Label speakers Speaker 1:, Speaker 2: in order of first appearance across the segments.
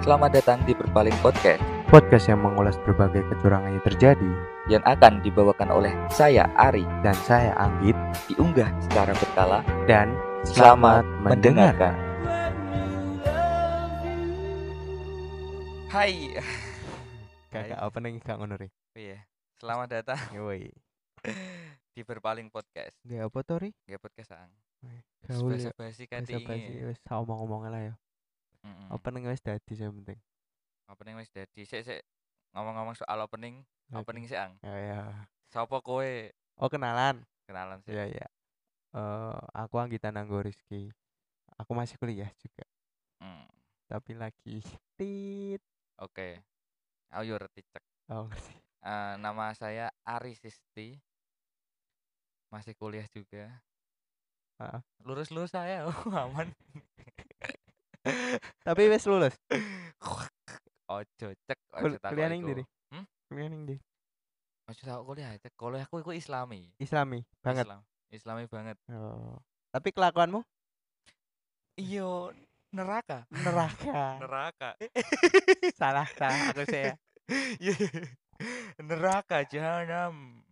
Speaker 1: Selamat datang di Berpaling Podcast
Speaker 2: podcast yang mengulas berbagai kecurangan yang terjadi
Speaker 1: yang akan dibawakan oleh saya Ari
Speaker 2: dan saya Anggit
Speaker 1: diunggah secara berkala.
Speaker 2: dan
Speaker 1: Selamat mendengarkan. Hai.
Speaker 2: Kakak opening Kak Ngono Ri.
Speaker 1: Oh iya, selamat datang
Speaker 2: Woi.
Speaker 1: di Berpaling Podcast.
Speaker 2: Ya apa to Ri?
Speaker 1: Nggak podcast ang.
Speaker 2: Gaul ya.
Speaker 1: basi
Speaker 2: Basa-basi
Speaker 1: katingi.
Speaker 2: wis omong-omong lah ya. Opening wis dadi sing penting.
Speaker 1: Opening wis dadi. Sik sik ngomong-ngomong soal opening,
Speaker 2: Oke.
Speaker 1: opening sik ang.
Speaker 2: Ya ya.
Speaker 1: Sopo kowe?
Speaker 2: Oh kenalan.
Speaker 1: Kenalan sih.
Speaker 2: Ya ya. Eh aku Anggita Nanggo Rizky. Aku masih kuliah juga,
Speaker 1: Mm,
Speaker 2: tapi lagi tit.
Speaker 1: Oke. Ayo reticek.
Speaker 2: Oh, ngerti.
Speaker 1: Eh, nama saya Ari Sisti. Masih kuliah juga.
Speaker 2: Heeh.
Speaker 1: Lurus-lurus saya, oh, aman.
Speaker 2: tapi wis lulus.
Speaker 1: Ojo cek,
Speaker 2: Kul-
Speaker 1: ojo takok
Speaker 2: kuliah ning
Speaker 1: iku.
Speaker 2: ndi? Ri?
Speaker 1: Hmm?
Speaker 2: Kuliah ning ndi?
Speaker 1: Ojo takok kuliah cek. Kuliahku iku Islami.
Speaker 2: Islami banget.
Speaker 1: Islam. Islami banget.
Speaker 2: Oh. Tapi kelakuanmu Hmm.
Speaker 1: Iyo neraka.
Speaker 2: neraka.
Speaker 1: Neraka.
Speaker 2: Salah salah aku saya.
Speaker 1: Iya. neraka jahanam.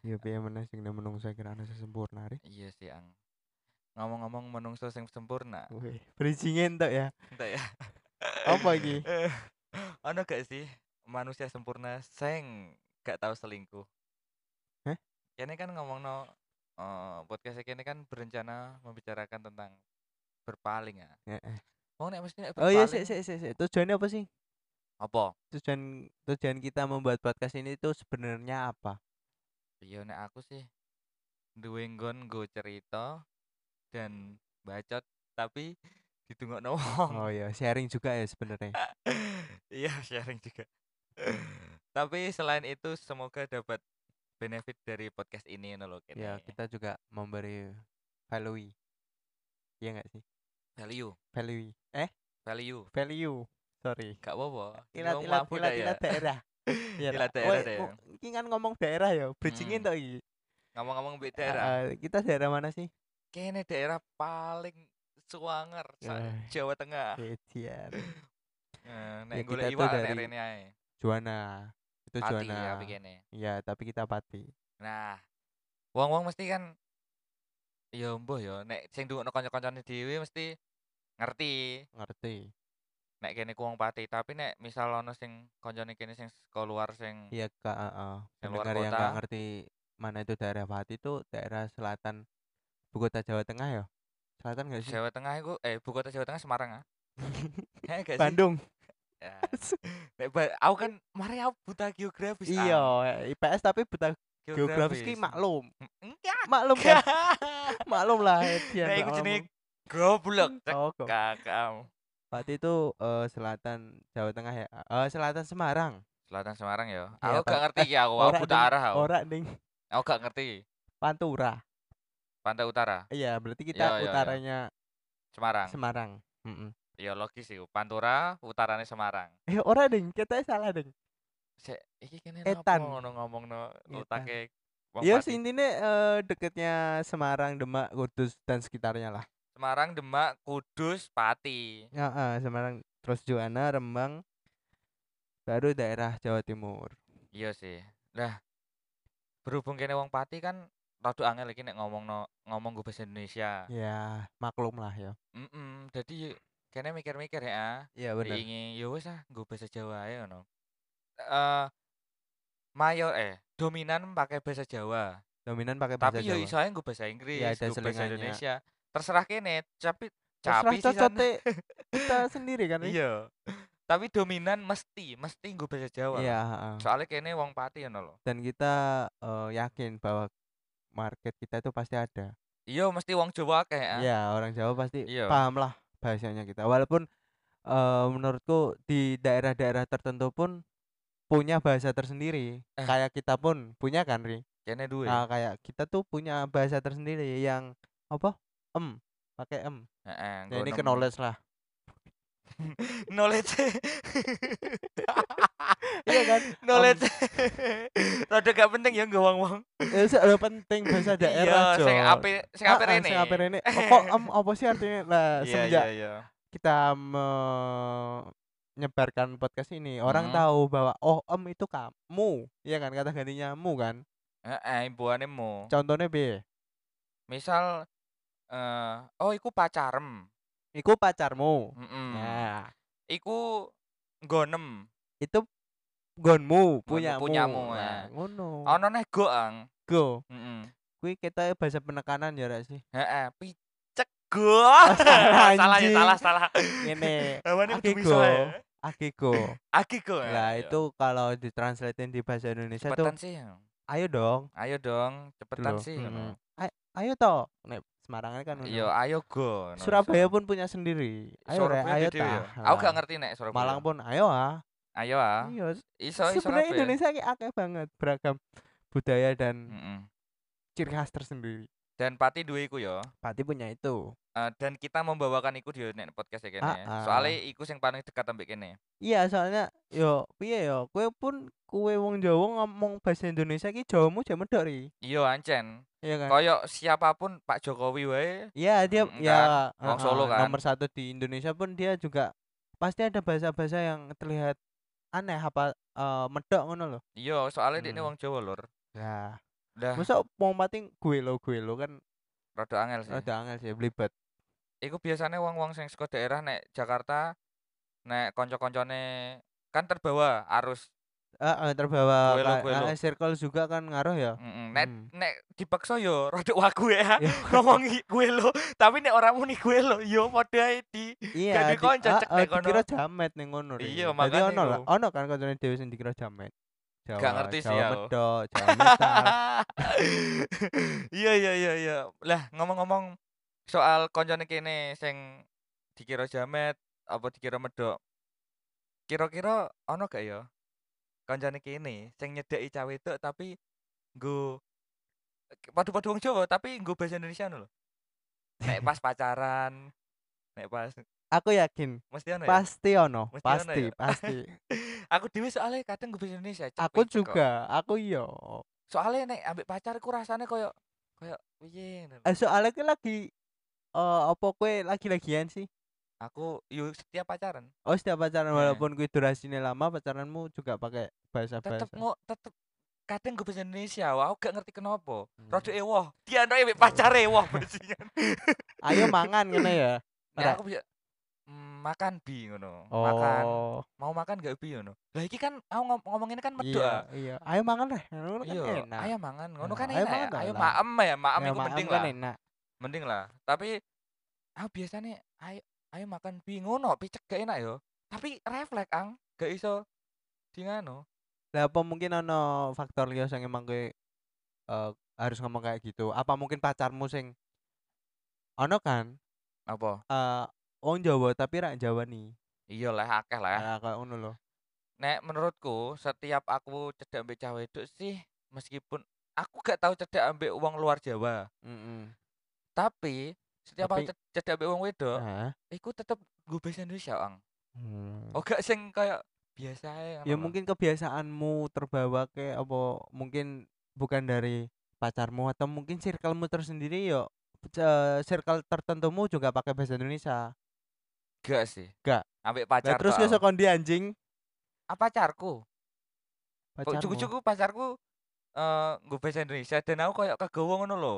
Speaker 2: Ya piye meneh sing menungso kira ana sesempurna Ri.
Speaker 1: Iya sih, Ang. Ngomong-ngomong menungso sing sempurna.
Speaker 2: Wih, bridging entuk ya.
Speaker 1: Entah ya.
Speaker 2: Apa iki?
Speaker 1: Eh, ono gak sih manusia sempurna sing gak tahu selingkuh?
Speaker 2: Heh?
Speaker 1: Kene kan ngomongno eh podcast kene kan berencana membicarakan tentang berpaling ya.
Speaker 2: Heeh.
Speaker 1: Wong nek mesti nek
Speaker 2: Oh iya,
Speaker 1: berpaling
Speaker 2: sik sik sik sik. Tujuannya apa sih?
Speaker 1: apa?
Speaker 2: Tujuan tujuan kita membuat podcast ini itu sebenarnya apa?
Speaker 1: Iya nek aku sih duwe nggon nggo cerita dan bacot tapi ditungokno wong.
Speaker 2: Oh iya, sharing juga ya sebenarnya.
Speaker 1: Eh, Iya, sharing juga. Tapi selain itu semoga dapat benefit dari podcast ini ngono lho kene.
Speaker 2: Ya, kita juga memberi value. Iya enggak sih?
Speaker 1: value,
Speaker 2: Value. Eh,
Speaker 1: value.
Speaker 2: value. Sorry.
Speaker 1: Gak apa-apa. Ini
Speaker 2: Ilat
Speaker 1: wong
Speaker 2: ilat
Speaker 1: mabuk dah
Speaker 2: ilat
Speaker 1: ya.
Speaker 2: ilat daerah. Iya,
Speaker 1: Ilat
Speaker 2: tak?
Speaker 1: daerah
Speaker 2: Woi,
Speaker 1: deh.
Speaker 2: ngo- Iki kan ngomong daerah ya, bridging
Speaker 1: Mm.
Speaker 2: entuk iki.
Speaker 1: Ngomong-ngomong mbek daerah,
Speaker 2: Eh, eh, Kita daerah mana sih?
Speaker 1: kene daerah paling suwanger sa
Speaker 2: Yoi.
Speaker 1: Jawa Tengah.
Speaker 2: Edian.
Speaker 1: Eh,
Speaker 2: Iya. Ya,
Speaker 1: Nek
Speaker 2: kita
Speaker 1: golek
Speaker 2: tuh
Speaker 1: iwak nek
Speaker 2: dari
Speaker 1: rene ae.
Speaker 2: Juana. Itu
Speaker 1: Pati
Speaker 2: Juana.
Speaker 1: tapi kene.
Speaker 2: Iya, tapi kita pati.
Speaker 1: Nah, wong-wong mesti kan ya mbuh ya nek sing ndungokno kanca-kancane dhewe mesti ngerti.
Speaker 2: Ngerti.
Speaker 1: nek kene ku wong Pati, tapi nek misal ono sing koncone kene sing saka luar sing
Speaker 2: Iya kak, heeh.
Speaker 1: Yang luar
Speaker 2: Pendengar yang nggak
Speaker 1: kota.
Speaker 2: ngerti mana itu daerah Pati itu daerah selatan ibu kota Jawa Tengah ya? Selatan nggak sih?
Speaker 1: Jawa Tengah iku eh ibu kota Jawa Tengah Semarang ah. Heh gak sih?
Speaker 2: Bandung.
Speaker 1: Ya. Nek ba- aku kan mari aku buta geografis. ah. Ang.
Speaker 2: Iya, IPS tapi buta geografis ki maklum.
Speaker 1: Enggak.
Speaker 2: Maklum kan? Maklum lah
Speaker 1: iya. Nek
Speaker 2: Edian. nggak
Speaker 1: Nah, iku jenenge
Speaker 2: ngomong.
Speaker 1: goblok cek
Speaker 2: Iya, Oh, kok.
Speaker 1: kakam.
Speaker 2: Pati itu eh, selatan Jawa Tengah ya. Eh, selatan Semarang.
Speaker 1: Selatan Semarang ya.
Speaker 2: Iya,
Speaker 1: Aku gak
Speaker 2: tau.
Speaker 1: ngerti
Speaker 2: Eh,
Speaker 1: iki aku, aku
Speaker 2: ora
Speaker 1: buta
Speaker 2: ding,
Speaker 1: arah aku.
Speaker 2: Ora ning
Speaker 1: Aku gak ngerti.
Speaker 2: Pantura.
Speaker 1: Pantai Utara,
Speaker 2: Iya, berarti
Speaker 1: Iya,
Speaker 2: kita
Speaker 1: iya, iya.
Speaker 2: utaranya
Speaker 1: Semarang.
Speaker 2: Semarang. Heeh.
Speaker 1: ya logis iku. Pantura, utarane Semarang.
Speaker 2: Eh, ora ding, kita salah ding.
Speaker 1: Sik, iki kene
Speaker 2: Etan.
Speaker 1: napa ngono ngomongno
Speaker 2: Etan.
Speaker 1: utake wong
Speaker 2: Iya
Speaker 1: Pati?
Speaker 2: sih intinya eh, deketnya Semarang, Demak, Kudus dan sekitarnya lah.
Speaker 1: Semarang, Demak, Kudus, Pati.
Speaker 2: Ya, eh, Semarang, terus Juwana, Rembang, baru daerah Jawa Timur.
Speaker 1: Iya sih. Lah, berhubung kene wong Pati kan rada angel iki nek ngomongno ngomong gue bahasa Indonesia. Iya,
Speaker 2: Ya maklum lah ya.
Speaker 1: Heeh, dadi kene mikir-mikir ya.
Speaker 2: Iya benar.
Speaker 1: Ingin ya wis ah, gue bahasa Jawa ae ngono. Eh mayor eh dominan pakai bahasa Jawa,
Speaker 2: Dominan pakai bahasa
Speaker 1: tapi yo
Speaker 2: Jawa. Ya,
Speaker 1: iso ae nggo bahasa Inggris,
Speaker 2: ada
Speaker 1: nggo bahasa
Speaker 2: selingannya.
Speaker 1: Indonesia. Terserah kene, tapi
Speaker 2: Terserah
Speaker 1: capi sih
Speaker 2: cocote kita sendiri kan. Ri?
Speaker 1: Iya. Tapi dominan mesti, mesti nggo bahasa Jawa.
Speaker 2: Iya.
Speaker 1: loh.
Speaker 2: heeh.
Speaker 1: Soalnya kene wong Pati ngono lho.
Speaker 2: Dan kita eh, yakin bahwa market kita itu pasti ada.
Speaker 1: Iya, mesti wong Jawa akeh. ah.
Speaker 2: Iya orang Jawa pasti
Speaker 1: Iya.
Speaker 2: paham lah bahasanya kita. Walaupun eh, menurutku di daerah-daerah tertentu pun punya bahasa tersendiri.
Speaker 1: Eh.
Speaker 2: Kayak kita pun punya kan Ri.
Speaker 1: Kene duwe.
Speaker 2: Nah, kayak kita tuh punya bahasa tersendiri yang apa? Em, pakai em.
Speaker 1: Heeh,
Speaker 2: Ya,
Speaker 1: nggo
Speaker 2: ini
Speaker 1: nem-
Speaker 2: ke knowledge lah.
Speaker 1: Knowledge.
Speaker 2: Iya kan?
Speaker 1: Knowledge. Rada gak penting ya nggo wong-wong.
Speaker 2: Ya sudah penting bahasa daerah,
Speaker 1: Iya,
Speaker 2: Jo.
Speaker 1: sing ape sing ape
Speaker 2: Ah, ah,
Speaker 1: rene.
Speaker 2: Sing ape rene. Oh, Kok em apa sih artinya? Lah,
Speaker 1: Iya,
Speaker 2: semenjak
Speaker 1: iya, iya.
Speaker 2: kita me- nyebarkan podcast ini orang
Speaker 1: Mhm.
Speaker 2: tahu bahwa oh em itu kamu ya kan kata gantinya mu kan
Speaker 1: Heeh, imbuhane mu.
Speaker 2: contohnya B
Speaker 1: Misal eh oh iku pacarem.
Speaker 2: iku pacarmu
Speaker 1: Heeh.
Speaker 2: nah
Speaker 1: Iku nggonem.
Speaker 2: itu gonmu punyamu
Speaker 1: punyamu,
Speaker 2: nah,
Speaker 1: ya.
Speaker 2: ngono
Speaker 1: Ana neh goang.
Speaker 2: go
Speaker 1: Heeh.
Speaker 2: kuwi kita bahasa penekanan ya Rek, sih
Speaker 1: Heeh, picek goang.
Speaker 2: Salah,
Speaker 1: salah ya,
Speaker 2: anjing.
Speaker 1: salah salah.
Speaker 2: ini
Speaker 1: Awane
Speaker 2: Aki
Speaker 1: Eh, kudu iso
Speaker 2: go.
Speaker 1: ya.
Speaker 2: akigo
Speaker 1: Aki go. ya,
Speaker 2: lah
Speaker 1: ayo.
Speaker 2: itu kalau ditranslatein di bahasa Indonesia
Speaker 1: cepetan
Speaker 2: tuh
Speaker 1: sih.
Speaker 2: ayo dong
Speaker 1: Ayo dong, cepetan
Speaker 2: Loh,
Speaker 1: sih.
Speaker 2: mm-mm.
Speaker 1: ngono.
Speaker 2: A- ayo toh nek Semarang kan ngono.
Speaker 1: Yo ayo go. ngono
Speaker 2: Surabaya
Speaker 1: iso.
Speaker 2: pun punya sendiri ayo Rek,
Speaker 1: Surabaya
Speaker 2: ayo
Speaker 1: dhewe ya.
Speaker 2: tah
Speaker 1: Aku gak
Speaker 2: lah.
Speaker 1: ngerti nek Surabaya.
Speaker 2: Malang pun ayo ah
Speaker 1: Ayo ah.
Speaker 2: iya
Speaker 1: Iso iso
Speaker 2: sebenarnya
Speaker 1: kabeh.
Speaker 2: Indonesia kayak akeh banget beragam budaya dan
Speaker 1: Heeh.
Speaker 2: ciri khas tersendiri
Speaker 1: Dan Pati duwe iku yo.
Speaker 2: Pati punya itu
Speaker 1: Eh, dan kita membawakan iku di nek podcast ya kene.
Speaker 2: Ah, ah.
Speaker 1: Soalnya iku sing paling dekat ambek kene.
Speaker 2: iya soalnya yo piye yo kue pun kue wong Jawa ngomong bahasa Indonesia ki Jawamu jamu dari
Speaker 1: Iya ancen.
Speaker 2: iya kan
Speaker 1: Koyok siapapun Pak Jokowi wae.
Speaker 2: Iya dia
Speaker 1: Oh, Mm,
Speaker 2: ya
Speaker 1: Wong
Speaker 2: heeh,
Speaker 1: Solo kan.
Speaker 2: nomor satu di Indonesia pun dia juga pasti ada bahasa-bahasa yang terlihat aneh apa eh, medok ngono loh.
Speaker 1: Iya, soalnya dia
Speaker 2: Mm.
Speaker 1: wong Jawa lur.
Speaker 2: Nah,
Speaker 1: Dah,
Speaker 2: masa wong pating gue lo gue lo kan
Speaker 1: rada angel sih.
Speaker 2: rada angel sih belibet.
Speaker 1: Iku biasanya wong-wong sing saka daerah nek Jakarta nek kanca-kancane kan terbawa arus.
Speaker 2: Heeh, terbawa
Speaker 1: Gue lo,
Speaker 2: ka-
Speaker 1: gue lo.
Speaker 2: eh, circle juga kan ngaruh ya.
Speaker 1: Mm-mm. Nek
Speaker 2: Mm.
Speaker 1: nek dipaksa yo rada wagu ya.
Speaker 2: Ya,
Speaker 1: Ngomongi gue lo, tapi nek ora muni gue lo, yo padha ae di.
Speaker 2: Iya,
Speaker 1: jadi
Speaker 2: di-
Speaker 1: konco cek
Speaker 2: heeh,
Speaker 1: nek kono.
Speaker 2: dikira jamet ning ngono Ri.
Speaker 1: Iya,
Speaker 2: Dadi
Speaker 1: makanya
Speaker 2: ono lah,
Speaker 1: iku.
Speaker 2: ono kan kancane dhewe sing dikira jamet. Jawa,
Speaker 1: ngerti sih
Speaker 2: Jawa
Speaker 1: aku.
Speaker 2: medok, Jawa metal.
Speaker 1: Iya iya iya iya. Lah ngomong-ngomong soal koncone kene sing dikira jamet apa dikira medok. Kira-kira ono gak ya koncone kene sing nyedeki cah wedok tapi nggo padu-padu wong Jawa tapi nggo bahasa Indonesia ngono lho. Nek pas pacaran, nek pas
Speaker 2: Aku yakin
Speaker 1: mesti ono ya.
Speaker 2: pasti ono,
Speaker 1: Mesti ono
Speaker 2: pasti,
Speaker 1: ya?
Speaker 2: pasti.
Speaker 1: Aku dhewe soalnya kadang nggo bahasa Indonesia. cek
Speaker 2: aku
Speaker 1: wek cek kok.
Speaker 2: juga aku iya. yo
Speaker 1: Soalnya nek ambek pacar ku rasane koyo koyo piye ngono lho.
Speaker 2: eh, soalnya aku lagi eh apa kue lagi-lagian sih
Speaker 1: Aku yuk setiap pacaran
Speaker 2: oh setiap pacaran
Speaker 1: Heeh.
Speaker 2: walaupun kue durasinya lama pacaranmu juga pakai bahasa bahasa
Speaker 1: tetep ngo tetep kadang gue bahasa Indonesia wah aku gak ngerti kenapa
Speaker 2: Hmm.
Speaker 1: rada eh, ewoh dia ndo ewek pacare ewoh bajingan
Speaker 2: ayo mangan ngene ya
Speaker 1: kan. nah
Speaker 2: Ora.
Speaker 1: aku bisa "Mm, makan bi ngono makan
Speaker 2: Oh,
Speaker 1: mau makan gak bi ngono lah iki kan aku ngom ngomongin kan medok
Speaker 2: iya
Speaker 1: ah.
Speaker 2: iya ayo mangan lah ngono kan
Speaker 1: iya
Speaker 2: enak
Speaker 1: ayo mangan ngono
Speaker 2: Nah,
Speaker 1: kan
Speaker 2: ayo
Speaker 1: enak ya
Speaker 2: mangan
Speaker 1: ayo
Speaker 2: lah.
Speaker 1: maem ya maem
Speaker 2: Ayo
Speaker 1: iku
Speaker 2: makan
Speaker 1: penting
Speaker 2: kan
Speaker 1: lah
Speaker 2: enak
Speaker 1: mending lah tapi aku biasanya ayo ayo makan bi ngono picek gak enak yo tapi refleks ang gak iso di ngano
Speaker 2: lah apa mungkin ono faktor liya sing emang kue eh, harus ngomong kayak gitu apa mungkin pacarmu sing ono kan
Speaker 1: apa
Speaker 2: eh wong Jawa tapi rak Jawa nih
Speaker 1: iya lah akeh lah
Speaker 2: nah, kayak ngono loh
Speaker 1: Nek menurutku setiap aku cedak ambek cah wedok sih meskipun aku gak tahu cedak ambek uang luar Jawa,
Speaker 2: Heeh.
Speaker 1: tapi setiap
Speaker 2: Tapi-
Speaker 1: aku ced- cedak ambek uang wedok,
Speaker 2: Nah.
Speaker 1: iku tetep gue bahasa Indonesia, Ang.
Speaker 2: Hmm.
Speaker 1: Oh gak sing kayak biasa ae ngono
Speaker 2: Ya
Speaker 1: lho.
Speaker 2: mungkin kebiasaanmu terbawa ke apa mungkin bukan dari pacarmu atau mungkin circlemu tersendiri yo eh, circle tertentumu juga pakai bahasa Indonesia.
Speaker 1: gak sih.
Speaker 2: Gak.
Speaker 1: Ambek
Speaker 2: Lah
Speaker 1: pacar
Speaker 2: terus
Speaker 1: tok
Speaker 2: ke
Speaker 1: aku.
Speaker 2: sekon di anjing
Speaker 1: Ah, pacarku.
Speaker 2: pacarmu.
Speaker 1: Cukup-cukup pacarku eh gue bahasa Indonesia dan aku kayak kegawa ngono lho.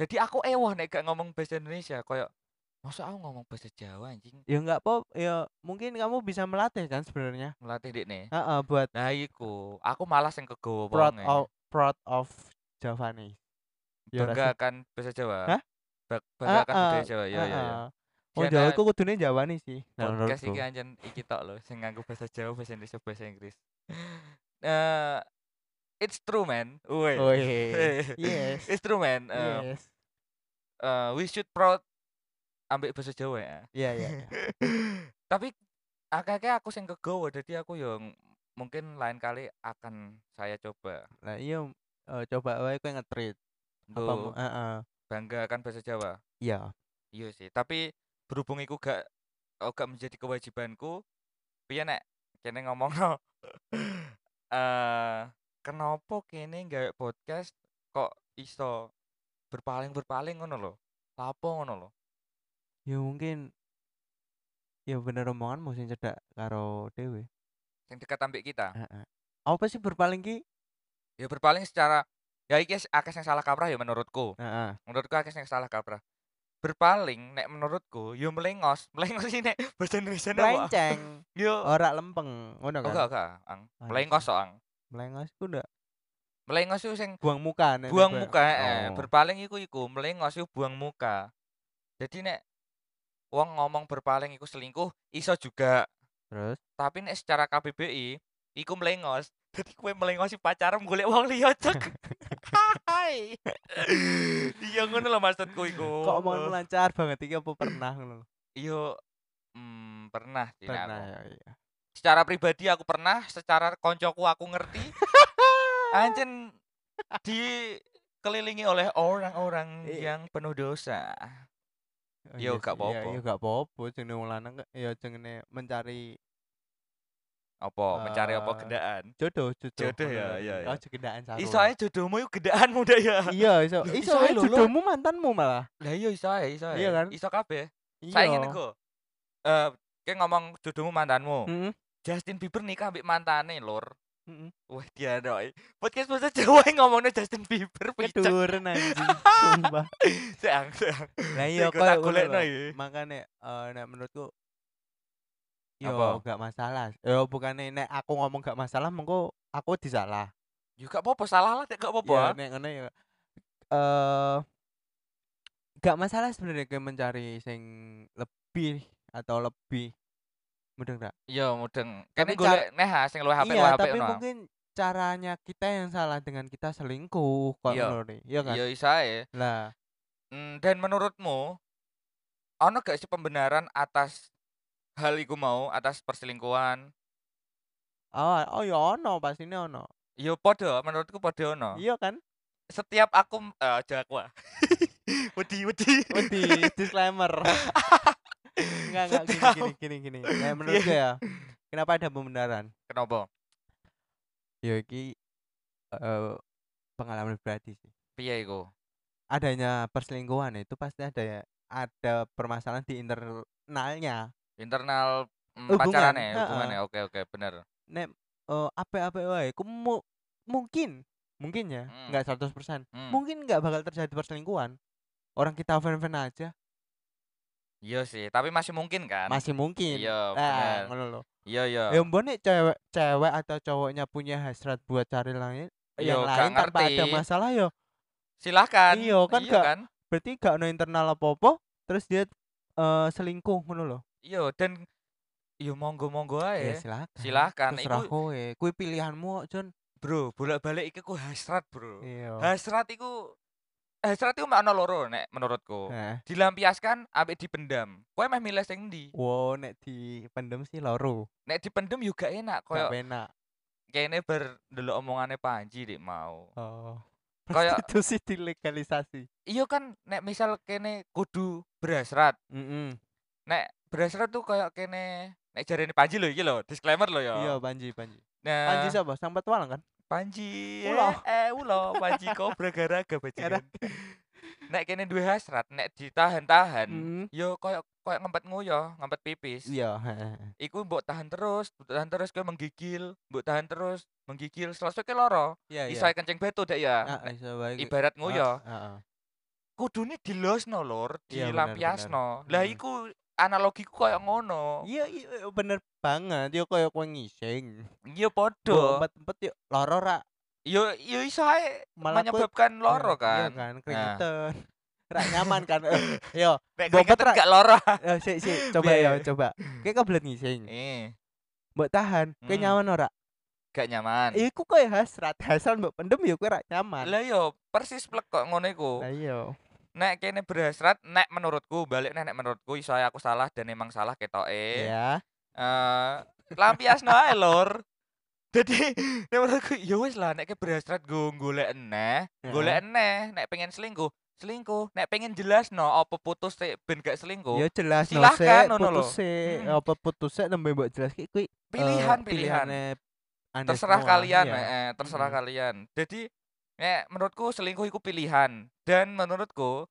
Speaker 1: Jadi aku ewoh nek gak ngomong bahasa Indonesia kayak masa aku ngomong bahasa Jawa anjing
Speaker 2: Ya enggak apa ya mungkin kamu bisa melatih kan sebenarnya.
Speaker 1: melatih dikne.
Speaker 2: Heeh, buat
Speaker 1: Nah iku, aku malah sing kegawa e.
Speaker 2: proud
Speaker 1: wonge.
Speaker 2: of proud of Javanese. Ya
Speaker 1: bangga
Speaker 2: rasa.
Speaker 1: akan bahasa Jawa.
Speaker 2: Hah?
Speaker 1: Ba- bangga akan budaya
Speaker 2: Ah, ah,
Speaker 1: Jawa. Ya ya ya.
Speaker 2: ah, ah. Wong
Speaker 1: Diana-
Speaker 2: Jawa iku kudune Jawane sih. Nah,
Speaker 1: Podcast
Speaker 2: menurutku.
Speaker 1: iki anjen iki tok lho sing nganggo bahasa Jawa, bahasa Indonesia, bahasa Inggris. Eh it's true man. Woi.
Speaker 2: Oh, iya. Yes.
Speaker 1: It's true man. Eh,
Speaker 2: Yes.
Speaker 1: eh, we should proud ambek bahasa Jawa ya.
Speaker 2: Iya, iya. iya.
Speaker 1: Tapi akeh aku sing kegowo jadi aku yang mungkin lain kali akan saya coba
Speaker 2: Lah iya eh, coba wae kowe nge-treat apa mu-
Speaker 1: nggo
Speaker 2: heeh.
Speaker 1: bangga akan bahasa Jawa.
Speaker 2: Iya.
Speaker 1: Iya sih, tapi berhubung iku gak oh, gak menjadi kewajibanku, piye nek kene ngomongno. Eh, kenapa kene nggawe podcast kok iso berpaling-berpaling ngono lho? Lapo ngono lho?
Speaker 2: Ya mungkin Ya bener omonganmu sing cedhak karo dhewe.
Speaker 1: Sing dekat ambek kita.
Speaker 2: Heeh. Apa sih berpaling ki?
Speaker 1: Ya berpaling secara ya iki s- akeh sing salah kaprah ya menurutku.
Speaker 2: Heeh.
Speaker 1: Menurutku akeh sing salah kaprah. Berpaling nek menurutku yo melengos. Melengos iki nek bahasa Indonesia apa?
Speaker 2: Melenceng,
Speaker 1: Yo.
Speaker 2: ora lempeng, ngono
Speaker 1: Oga
Speaker 2: kan.
Speaker 1: oga, Ang.
Speaker 2: Ah, iya
Speaker 1: Melengos
Speaker 2: sih.
Speaker 1: so, Ang.
Speaker 2: Melengos ku ndak
Speaker 1: Melengos itu sing
Speaker 2: buang muka nek
Speaker 1: buang
Speaker 2: nek-
Speaker 1: muka, eh.
Speaker 2: Oh.
Speaker 1: Berpaling iku iku melengos iku buang muka. Jadi nek wong ngomong berpaling iku selingkuh iso juga,
Speaker 2: Terus
Speaker 1: tapi nek secara KBBI iku melengos. Jadi kue melengosi pacarmu golek wong liya, Cek. Hai. Iya ngono lho maksudku iku.
Speaker 2: kok omonganmu lancar banget iki apa pernah ngono? lho?
Speaker 1: Iya, mm, pernah sih nek
Speaker 2: Pernah
Speaker 1: aku.
Speaker 2: ya iya.
Speaker 1: Secara pribadi aku pernah, secara koncoku aku ngerti. Anjen dikelilingi oleh orang-orang
Speaker 2: I-
Speaker 1: yang penuh dosa.
Speaker 2: Oh,
Speaker 1: Yo,
Speaker 2: iya
Speaker 1: gak
Speaker 2: sih, iya-
Speaker 1: apa-apa.
Speaker 2: Iya gak apa-apa jenenge wong lanang ke- ya jenenge mencari
Speaker 1: Apa mencari apa
Speaker 2: Eh,
Speaker 1: gendaan?
Speaker 2: jodoh, jodoh.
Speaker 1: Jodoh
Speaker 2: ngono
Speaker 1: ya,
Speaker 2: lho.
Speaker 1: iya, iya.
Speaker 2: Oh, jodohan sarung.
Speaker 1: Iso ae jodohmu iku gendaanmu dah ya.
Speaker 2: Iya, iso.
Speaker 1: Loh,
Speaker 2: Iso
Speaker 1: iso ae
Speaker 2: ae
Speaker 1: lho, lho.
Speaker 2: jodohmu mantanmu malah.
Speaker 1: Lah iya iso ae, iso ae.
Speaker 2: Iya kan?
Speaker 1: Iso kabeh.
Speaker 2: Iya.
Speaker 1: Saiki ngene go. Eh, kayak ngomong jodohmu mantanmu.
Speaker 2: Heeh.
Speaker 1: Justin Bieber nikah ambek mantane, Lur.
Speaker 2: Heeh.
Speaker 1: Wah, dia doi. Podcast bahasa Jawa yang ngomongnya Justin Bieber picek.
Speaker 2: Keduren anjing, sumpah.
Speaker 1: Seang, seang.
Speaker 2: Lah iya
Speaker 1: Iku
Speaker 2: koyo
Speaker 1: tak
Speaker 2: ngono
Speaker 1: golekno
Speaker 2: lho.
Speaker 1: iki.
Speaker 2: Makane eh nek menurutku
Speaker 1: Apa?
Speaker 2: Yo gak masalah. Yo bukannya nek aku ngomong gak masalah mengko aku disalah.
Speaker 1: Yo gak apa-apa, salah lah, Cek, gak apa-apa.
Speaker 2: Ya nek ngono ya. Eh gak masalah sebenarnya kowe mencari sing lebih atau lebih mudeng gak?
Speaker 1: Iya, mudeng. Kene
Speaker 2: Tapi
Speaker 1: golek neh ha, sing luwih HP
Speaker 2: iya,
Speaker 1: luwih HP
Speaker 2: tapi
Speaker 1: ngono.
Speaker 2: mungkin caranya kita yang salah dengan kita selingkuh kok
Speaker 1: Iya.
Speaker 2: ngono nih. Iya kan?
Speaker 1: Iya, iso ae.
Speaker 2: Lah,
Speaker 1: Mm, dan menurutmu ono gak sih pembenaran atas hal iku mau atas perselingkuhan?
Speaker 2: oh, oh ya ono pastinya ono.
Speaker 1: Yo podo, Iya, menurutku podo ono.
Speaker 2: Iya kan?
Speaker 1: Setiap aku m- eh aja aku. ah. wedi wedi.
Speaker 2: Wedi Oh, disclaimer. Enggak enggak gini
Speaker 1: Setiap-
Speaker 2: gini gini gini. Nah, menurut gue ya. Kenapa ada pembenaran?
Speaker 1: Kenapa?
Speaker 2: Ya iki eh, pengalaman pribadi sih.
Speaker 1: Piye iku?
Speaker 2: Adanya perselingkuhan itu pasti ada ya ada permasalahan di internalnya.
Speaker 1: Internal mm,
Speaker 2: Hubungan,
Speaker 1: pacarane,
Speaker 2: ha-ha.
Speaker 1: hubungannya. Oke oke, bener.
Speaker 2: Nek eh apa-apa wae ku mu- mungkin mungkin ya,
Speaker 1: Mm.
Speaker 2: enggak 100%.
Speaker 1: Hmm,
Speaker 2: Mungkin enggak bakal terjadi perselingkuhan. Orang kita fan-fan aja
Speaker 1: Iya sih, tapi masih mungkin kan?
Speaker 2: masih mungkin.
Speaker 1: Iya, bener.
Speaker 2: Nah, ngono lho.
Speaker 1: Iya iya.
Speaker 2: Ya mbok nek cewek cewek atau cowoknya punya hasrat buat cari lain
Speaker 1: Yo, Iya,
Speaker 2: yang lain
Speaker 1: gak
Speaker 2: tanpa ada
Speaker 1: ngerti.
Speaker 2: masalah yo.
Speaker 1: Silakan.
Speaker 2: Iya, kan
Speaker 1: iya
Speaker 2: gak-
Speaker 1: kan?
Speaker 2: Berarti gak ono internal apa-apa terus dia eh, selingkuh ngono lho.
Speaker 1: Iya, dan yo monggo-monggo
Speaker 2: Ya
Speaker 1: ae. Eh,
Speaker 2: silakan.
Speaker 1: Silakan.
Speaker 2: Terserah
Speaker 1: Iku-
Speaker 2: kowe. Kuwi pilihanmu, Jun.
Speaker 1: Bro, bolak-balik iki ku hasrat, Bro.
Speaker 2: Iya.
Speaker 1: Hasrat iku hasrat iku makna loro nek menurutku.
Speaker 2: Heeh.
Speaker 1: Dilampiaskan ambek dipendam. Kowe meh milih sing ndi?
Speaker 2: Wo nek dipendem sih loro.
Speaker 1: Nek dipendem juga enak
Speaker 2: Gak
Speaker 1: koyo
Speaker 2: penak.
Speaker 1: kene ber ndelok omongane Panji dik mau.
Speaker 2: Oh.
Speaker 1: Kayak-
Speaker 2: Prostitusi dilegalisasi.
Speaker 1: Iya kan nek misal kene kudu berhasrat.
Speaker 2: Mm
Speaker 1: Nek berhasrat tuh koyo kene nek jarene Panji lho iki lho, disclaimer lho ya.
Speaker 2: Iya, Panji, Panji.
Speaker 1: Nah,
Speaker 2: Panji siapa? Sang Petualang kan?
Speaker 1: Panji.
Speaker 2: Ulo.
Speaker 1: Eh, eh, ulo, Panji kobra garaga bajingan. Nek kene duwe hasrat, nek ditahan-tahan,
Speaker 2: Mm.
Speaker 1: yo koyo koyo ngempet nguyo, ngempet pipis.
Speaker 2: Iya, heeh.
Speaker 1: Iku mbok tahan terus, mbok tahan terus kowe menggigil, mbok tahan terus, menggigil, selesai kowe loro.
Speaker 2: Iya, iya.
Speaker 1: Iso ae kencing beto dek ya.
Speaker 2: Ah,
Speaker 1: Nek ya.
Speaker 2: iso bae.
Speaker 1: Ibarat nguyo,
Speaker 2: Heeh.
Speaker 1: kudune dilosno lur,
Speaker 2: Iya, bener,
Speaker 1: dilampiasno.
Speaker 2: bener.
Speaker 1: Lah
Speaker 2: Mm.
Speaker 1: iku analogiku koyo ngono.
Speaker 2: Iya, iya bener banget. Yo koyo kowe ngising.
Speaker 1: Iya
Speaker 2: Mbok
Speaker 1: padha.
Speaker 2: empet-empet yo lara ra
Speaker 1: Yo yo iso ae
Speaker 2: Malah kowe-
Speaker 1: menyebabkan loro
Speaker 2: Iya
Speaker 1: kan.
Speaker 2: kan, keringetan. Ra nyaman kan. Eh, Yo,
Speaker 1: Nek
Speaker 2: Mbok
Speaker 1: keringetan
Speaker 2: petra-
Speaker 1: gak loro.
Speaker 2: eh, sik sik coba
Speaker 1: Biar-
Speaker 2: yo, coba. Kowe kebelet ngising.
Speaker 1: Eh,
Speaker 2: Mbok tahan, kowe
Speaker 1: Mm.
Speaker 2: nyaman ora?
Speaker 1: gak nyaman.
Speaker 2: Iku koyo hasrat. Hasrat mbok pendem yo kowe ra nyaman.
Speaker 1: Lah yo persis plek kok ngono iku.
Speaker 2: Lah iya.
Speaker 1: nek kene berhasrat nek menurutku balik nek menurutku iso ae aku salah dan emang salah ketoke eh
Speaker 2: Ya.
Speaker 1: lampiasno ae lur jadi nek menurutku ya wis lah nek ke berhasrat go golek eneh
Speaker 2: Heeh.
Speaker 1: golek eneh nek pengen selingkuh selingkuh nek pengen jelasno apa putus sik ben gak selingkuh
Speaker 2: Ya eh, jelas no
Speaker 1: Silahkan,
Speaker 2: sik,
Speaker 1: ngono lho.
Speaker 2: putus sik,
Speaker 1: Mm.
Speaker 2: apa putus sik nembe mbok jelas ki kuwi eh,
Speaker 1: pilihan pilihan
Speaker 2: pilihannya Anda
Speaker 1: terserah
Speaker 2: semua,
Speaker 1: kalian
Speaker 2: iya.
Speaker 1: eh, terserah
Speaker 2: Mm-mm.
Speaker 1: kalian jadi nek menurutku selingkuh itu pilihan dan menurutku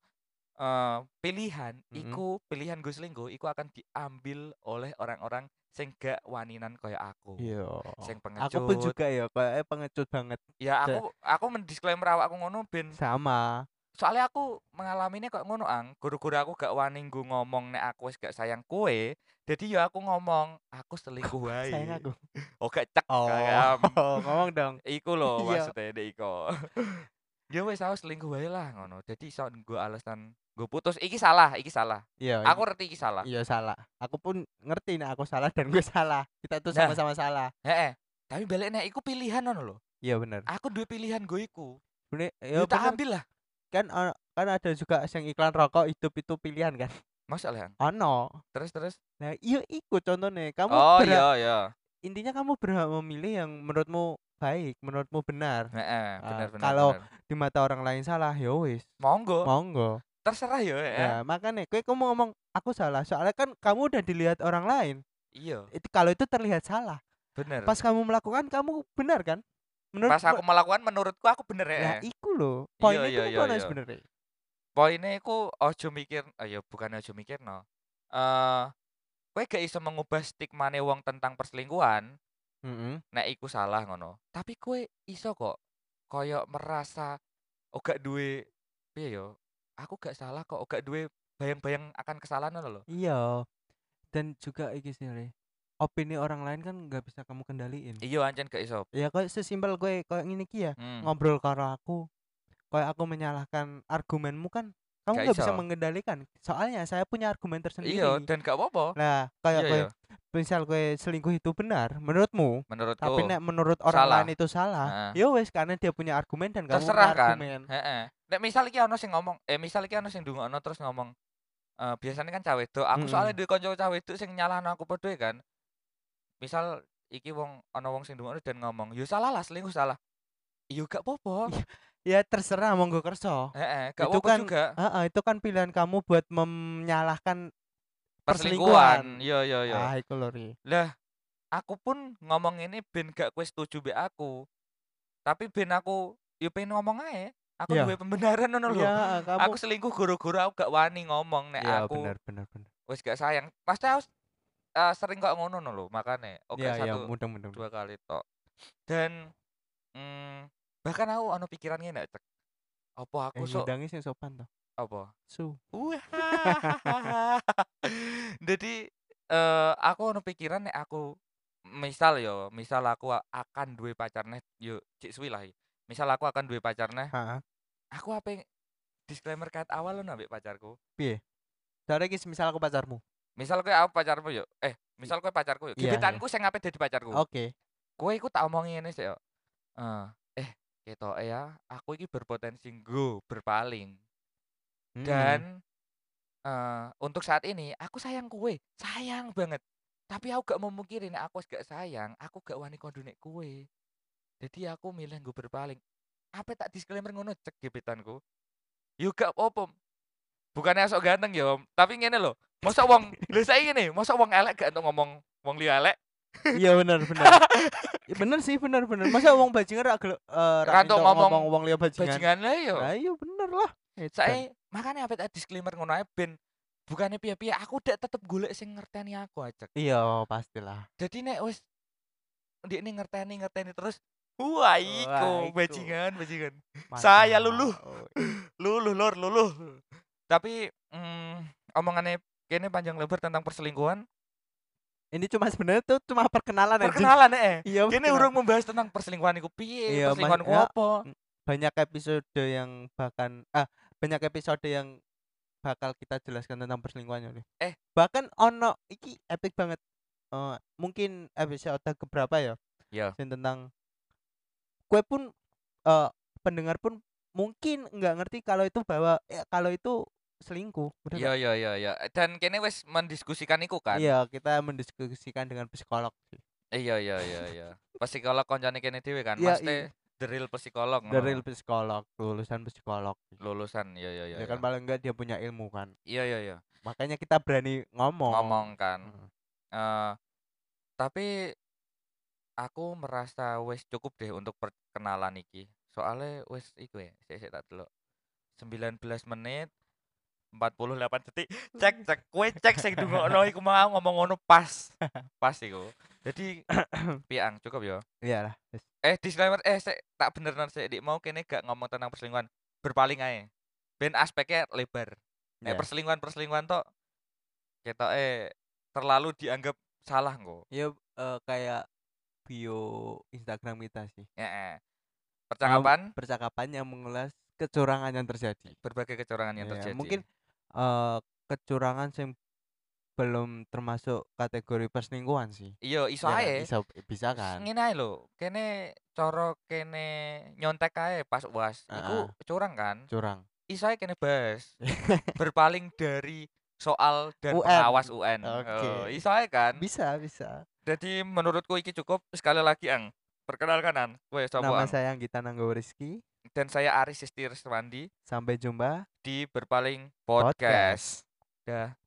Speaker 1: eh, pilihan
Speaker 2: Mm-mm.
Speaker 1: iku pilihan gue selingkuh iku akan diambil oleh orang-orang sing gak waninan kaya aku.
Speaker 2: Iya.
Speaker 1: Sing
Speaker 2: Aku pun
Speaker 1: pengecut.
Speaker 2: juga ya, kayak pengecut banget
Speaker 1: Ya
Speaker 2: se-
Speaker 1: aku aku mendisklaimer awakku ngono ben
Speaker 2: sama.
Speaker 1: soalnya aku mengalaminya kok ngono ang guru-guru aku gak wani nggo ngomong nek aku wis gak sayang kue jadi ya aku ngomong aku selingkuh wae
Speaker 2: Sayang aku.
Speaker 1: oh gak cek
Speaker 2: Oh,
Speaker 1: kayak, em,
Speaker 2: ngomong dong.
Speaker 1: iku lho
Speaker 2: Iya.
Speaker 1: maksudnya dek iko ya wes aku selingkuh wae lah ngono jadi iso nggo alasan gue putus iki salah iki salah
Speaker 2: Iya.
Speaker 1: aku ngerti iki salah
Speaker 2: Iya salah. Aku pun ngerti nek aku salah dan gue salah. Kita tuh
Speaker 1: Nah.
Speaker 2: sama-sama salah.
Speaker 1: heeh tapi balik nek iku pilihan ngono lho
Speaker 2: Iya benar.
Speaker 1: aku duwe pilihan gue iku
Speaker 2: Bener,
Speaker 1: ya,
Speaker 2: ya
Speaker 1: tak
Speaker 2: bener.
Speaker 1: ambil lah
Speaker 2: kan ono- kan ada juga yang iklan rokok hidup itu pilihan kan.
Speaker 1: masalah
Speaker 2: Ono.
Speaker 1: terus terus
Speaker 2: Nah, iya iku contohnya. Kamu
Speaker 1: oh
Speaker 2: berhak-
Speaker 1: iya iya
Speaker 2: intinya kamu berhak memilih yang menurutmu baik, menurutmu benar.
Speaker 1: heeh benar benar
Speaker 2: Ah, kalau-
Speaker 1: benar.
Speaker 2: Di mata orang lain salah, ya wis.
Speaker 1: monggo
Speaker 2: Monggo.
Speaker 1: terserah Oh, ya heeh.
Speaker 2: Nah, makanya kowe kamu ngomong aku salah. Soalnya kan kamu udah dilihat orang lain.
Speaker 1: iya
Speaker 2: Itu kalau itu terlihat salah.
Speaker 1: bener
Speaker 2: Pas kamu melakukan kamu benar kan? Menurut
Speaker 1: pas aku melakukan menurutku aku bener ya
Speaker 2: Nah, iku lho. Poinnya
Speaker 1: iya,
Speaker 2: iku
Speaker 1: iya,
Speaker 2: iya, iya,
Speaker 1: iya. poinnya aku ojo mikir oh ya bukan ojo mikir no eh kowe gak iso mengubah stigma wong tentang perselingkuhan nek iku salah ngono tapi kowe iso kok koyo merasa oh gak duwe piye yo aku gak salah kok oh gak duwe bayang-bayang akan kesalahan ngono lho
Speaker 2: Iya. Dan juga iki sih, Re. opini orang lain kan nggak bisa kamu kendaliin.
Speaker 1: iya ancen gak iso
Speaker 2: Ya kok sesimpel kowe koyo ngene iki ya,
Speaker 1: hmm.
Speaker 2: ngobrol karo aku. Koyo aku menyalahkan argumenmu kan kamu
Speaker 1: Nggak
Speaker 2: nggak bisa
Speaker 1: iso.
Speaker 2: mengendalikan. Soalnya saya punya argumen tersendiri.
Speaker 1: iya dan gak apa-apa
Speaker 2: Nah, kayak
Speaker 1: iya
Speaker 2: kowe
Speaker 1: iya
Speaker 2: misal kowe selingkuh itu benar menurutmu,
Speaker 1: menurutku
Speaker 2: tapi nek menurut orang
Speaker 1: Oh. Salah.
Speaker 2: lain itu salah.
Speaker 1: Nah.
Speaker 2: Ya wis karena dia punya argumen dan kamu punya
Speaker 1: Terserah kan.
Speaker 2: argumen.
Speaker 1: Heeh. Nek misal iki ono sing ngomong, eh misal iki ono sing ndongakno terus ngomong eh biasanya kan cah wedok, aku soalnya duwe kanca cah wedok sing nyalahno aku padha e kan. Misal iki wong ono wong sing ndongakno dan ngomong, "Yo salah lah selingkuh salah." Yo gak apa-apa.
Speaker 2: Ya terserah monggo kerso.
Speaker 1: Heeh, gak
Speaker 2: Itu
Speaker 1: apa-apa
Speaker 2: kan
Speaker 1: juga.
Speaker 2: Heeh, itu kan pilihan kamu buat menyalahkan
Speaker 1: Perselingkuhan.
Speaker 2: perselingkuhan.
Speaker 1: Yo yo yo.
Speaker 2: ah iku lho Ri.
Speaker 1: Lah, aku pun ngomong ini ben gak kowe setuju be aku. Tapi ben aku yo pengen ngomong ae. Aku
Speaker 2: Iya.
Speaker 1: duwe pembenaran ngono lho.
Speaker 2: Iya, kamu
Speaker 1: Aku selingkuh gara-gara aku gak wani ngomong nek
Speaker 2: Iya,
Speaker 1: aku
Speaker 2: benar benar benar.
Speaker 1: wis gak sayang pasti harus eh, sering kok ngono no lho makane oke
Speaker 2: Iya, iya,
Speaker 1: satu
Speaker 2: mudah mudah.
Speaker 1: dua kali tok dan mm, bahkan aku ono pikirannya nek cek apa
Speaker 2: Eh,
Speaker 1: aku sok
Speaker 2: ngundangnya sing sopan toh.
Speaker 1: apa
Speaker 2: Su.
Speaker 1: Wahahaha. jadi eh aku ono pikiran nek aku misal yo misal aku a- akan duwe pacar neh yo cik suwi lah iki. misal aku akan duwe pacar neh
Speaker 2: Heeh.
Speaker 1: aku apa disclaimer kat awal lo ambek pacarku
Speaker 2: Dari iki misal aku pacarmu.
Speaker 1: misal kowe aku pacarmu yo eh misal kowe pacarku yo
Speaker 2: Iya, iya.
Speaker 1: gebetanku sing ngapain jadi pacarku
Speaker 2: Oke.
Speaker 1: kue iku tak omongi ngene sih yo. Eh, eh ketok e ya, aku iki berpotensi nggo berpaling.
Speaker 2: Mm-mm.
Speaker 1: Dan eh untuk saat ini aku sayang kue, sayang banget. Tapi aku gak mau mikirin aku wis gak sayang, aku gak wani kondunek kue. Jadi aku milih nggo berpaling. Apa tak disclaimer ngono cek gebetanku. Yo gak apa Bukannya sok ganteng yo, tapi ngene lho. Mosok wong lho saiki ngene, mosok wong elek gak entuk ngomong wong liya elek. Hmm.
Speaker 2: Iya benar benar. Ya, bener sih bener bener. Masa wong bajingan ra gelem eh, ra
Speaker 1: Rantuk
Speaker 2: iso
Speaker 1: ngomong
Speaker 2: ngomong wong liya bajingan.
Speaker 1: Bajingan lah yo. Eh,
Speaker 2: Lah iya bener lah. Edan.
Speaker 1: saya makanya apa tak disclaimer ngono ae ben bukannya piye-piye aku dek tetep golek sing ngerteni aku aja
Speaker 2: Iya pastilah.
Speaker 1: jadi nek wis dia ini ngerteni ngerteni terus wah
Speaker 2: Wah,
Speaker 1: iku
Speaker 2: iku.
Speaker 1: bajingan bajingan Saya
Speaker 2: Mantap.
Speaker 1: luluh. luluh lor luluh tapi mm, omongannya kene panjang lebar tentang perselingkuhan
Speaker 2: Ini cuma sebenarnya tuh cuma perkenalan anjing.
Speaker 1: perkenalan eh
Speaker 2: Iya.
Speaker 1: kene
Speaker 2: perkenalan.
Speaker 1: urung membahas tentang perselingkuhan iku piye
Speaker 2: Iya, mas-
Speaker 1: perselingkuhan ku
Speaker 2: ya.
Speaker 1: apa
Speaker 2: banyak episode yang bahkan ah banyak episode yang bakal kita jelaskan tentang perselingkuhannya nih.
Speaker 1: Eh.
Speaker 2: bahkan ono iki epic banget. Eh, mungkin episode keberapa ya?
Speaker 1: Iya.
Speaker 2: Yang tentang kue pun eh pendengar pun mungkin nggak ngerti kalau itu bahwa eh, kalau itu selingkuh. Bener
Speaker 1: iya iya iya iya dan kene wis mendiskusikan iku
Speaker 2: nggak?
Speaker 1: kan
Speaker 2: Iya, kita mendiskusikan dengan psikolog sih.
Speaker 1: iya iya iya iya psikolog koncane kene dhewe kan
Speaker 2: Iya,
Speaker 1: maksudnya the real psikolog ngono
Speaker 2: Dari
Speaker 1: lho.
Speaker 2: psikolog, lulusan psikolog.
Speaker 1: lulusan ya ya ya
Speaker 2: ya kan
Speaker 1: ya.
Speaker 2: paling enggak dia punya ilmu kan.
Speaker 1: iya iya iya
Speaker 2: Makanya kita berani ngomong.
Speaker 1: ngomong kan
Speaker 2: Mm.
Speaker 1: Eh, tapi aku merasa wes cukup deh untuk perkenalan iki soalnya wes iku ya saya tak delok 19 menit 48 detik. Cek cek kowe cek sing dungokno iku mau ngomong ngono pas. Pas iku. Jadi piang cukup ya.
Speaker 2: Iyalah. wis.
Speaker 1: Eh disclaimer eh sik, tak bener sik dik mau kene gak ngomong tentang perselingkuhan. Berpaling ae. Ben aspeknya lebar. Eh
Speaker 2: Iya.
Speaker 1: perselingkuhan-perselingkuhan tok ketok eh terlalu dianggap salah nggo.
Speaker 2: Ya eh, kayak bio Instagram kita sih.
Speaker 1: Heeh.
Speaker 2: Ngom-
Speaker 1: Percakapan
Speaker 2: Percakapan yang mengulas kecurangan yang terjadi.
Speaker 1: berbagai kecurangan yang
Speaker 2: Iya,
Speaker 1: terjadi.
Speaker 2: Mungkin eh, kecurangan yang belum termasuk kategori perselingkuhan sih.
Speaker 1: iya iso
Speaker 2: Iya kan?
Speaker 1: ae.
Speaker 2: Bisa, bisa kan?
Speaker 1: ngene ae lho, kene cara kene nyontek ae pas UAS. Iku curang kan?
Speaker 2: Curang.
Speaker 1: Iso ae kene bahas. Berpaling dari soal dan
Speaker 2: UN.
Speaker 1: pengawas UN. Oh,
Speaker 2: Oke.
Speaker 1: iso ae kan?
Speaker 2: Bisa, bisa.
Speaker 1: Jadi menurutku iki cukup sekali lagi ang. Perkenalkan ang, gue
Speaker 2: Nama
Speaker 1: sapa Ang.
Speaker 2: saya Anggita Nanggawa Rizky.
Speaker 1: dan saya Aris Istir Semandi
Speaker 2: Sampai jumpa.
Speaker 1: di Berpaling
Speaker 2: Podcast.
Speaker 1: Podcast. Dah.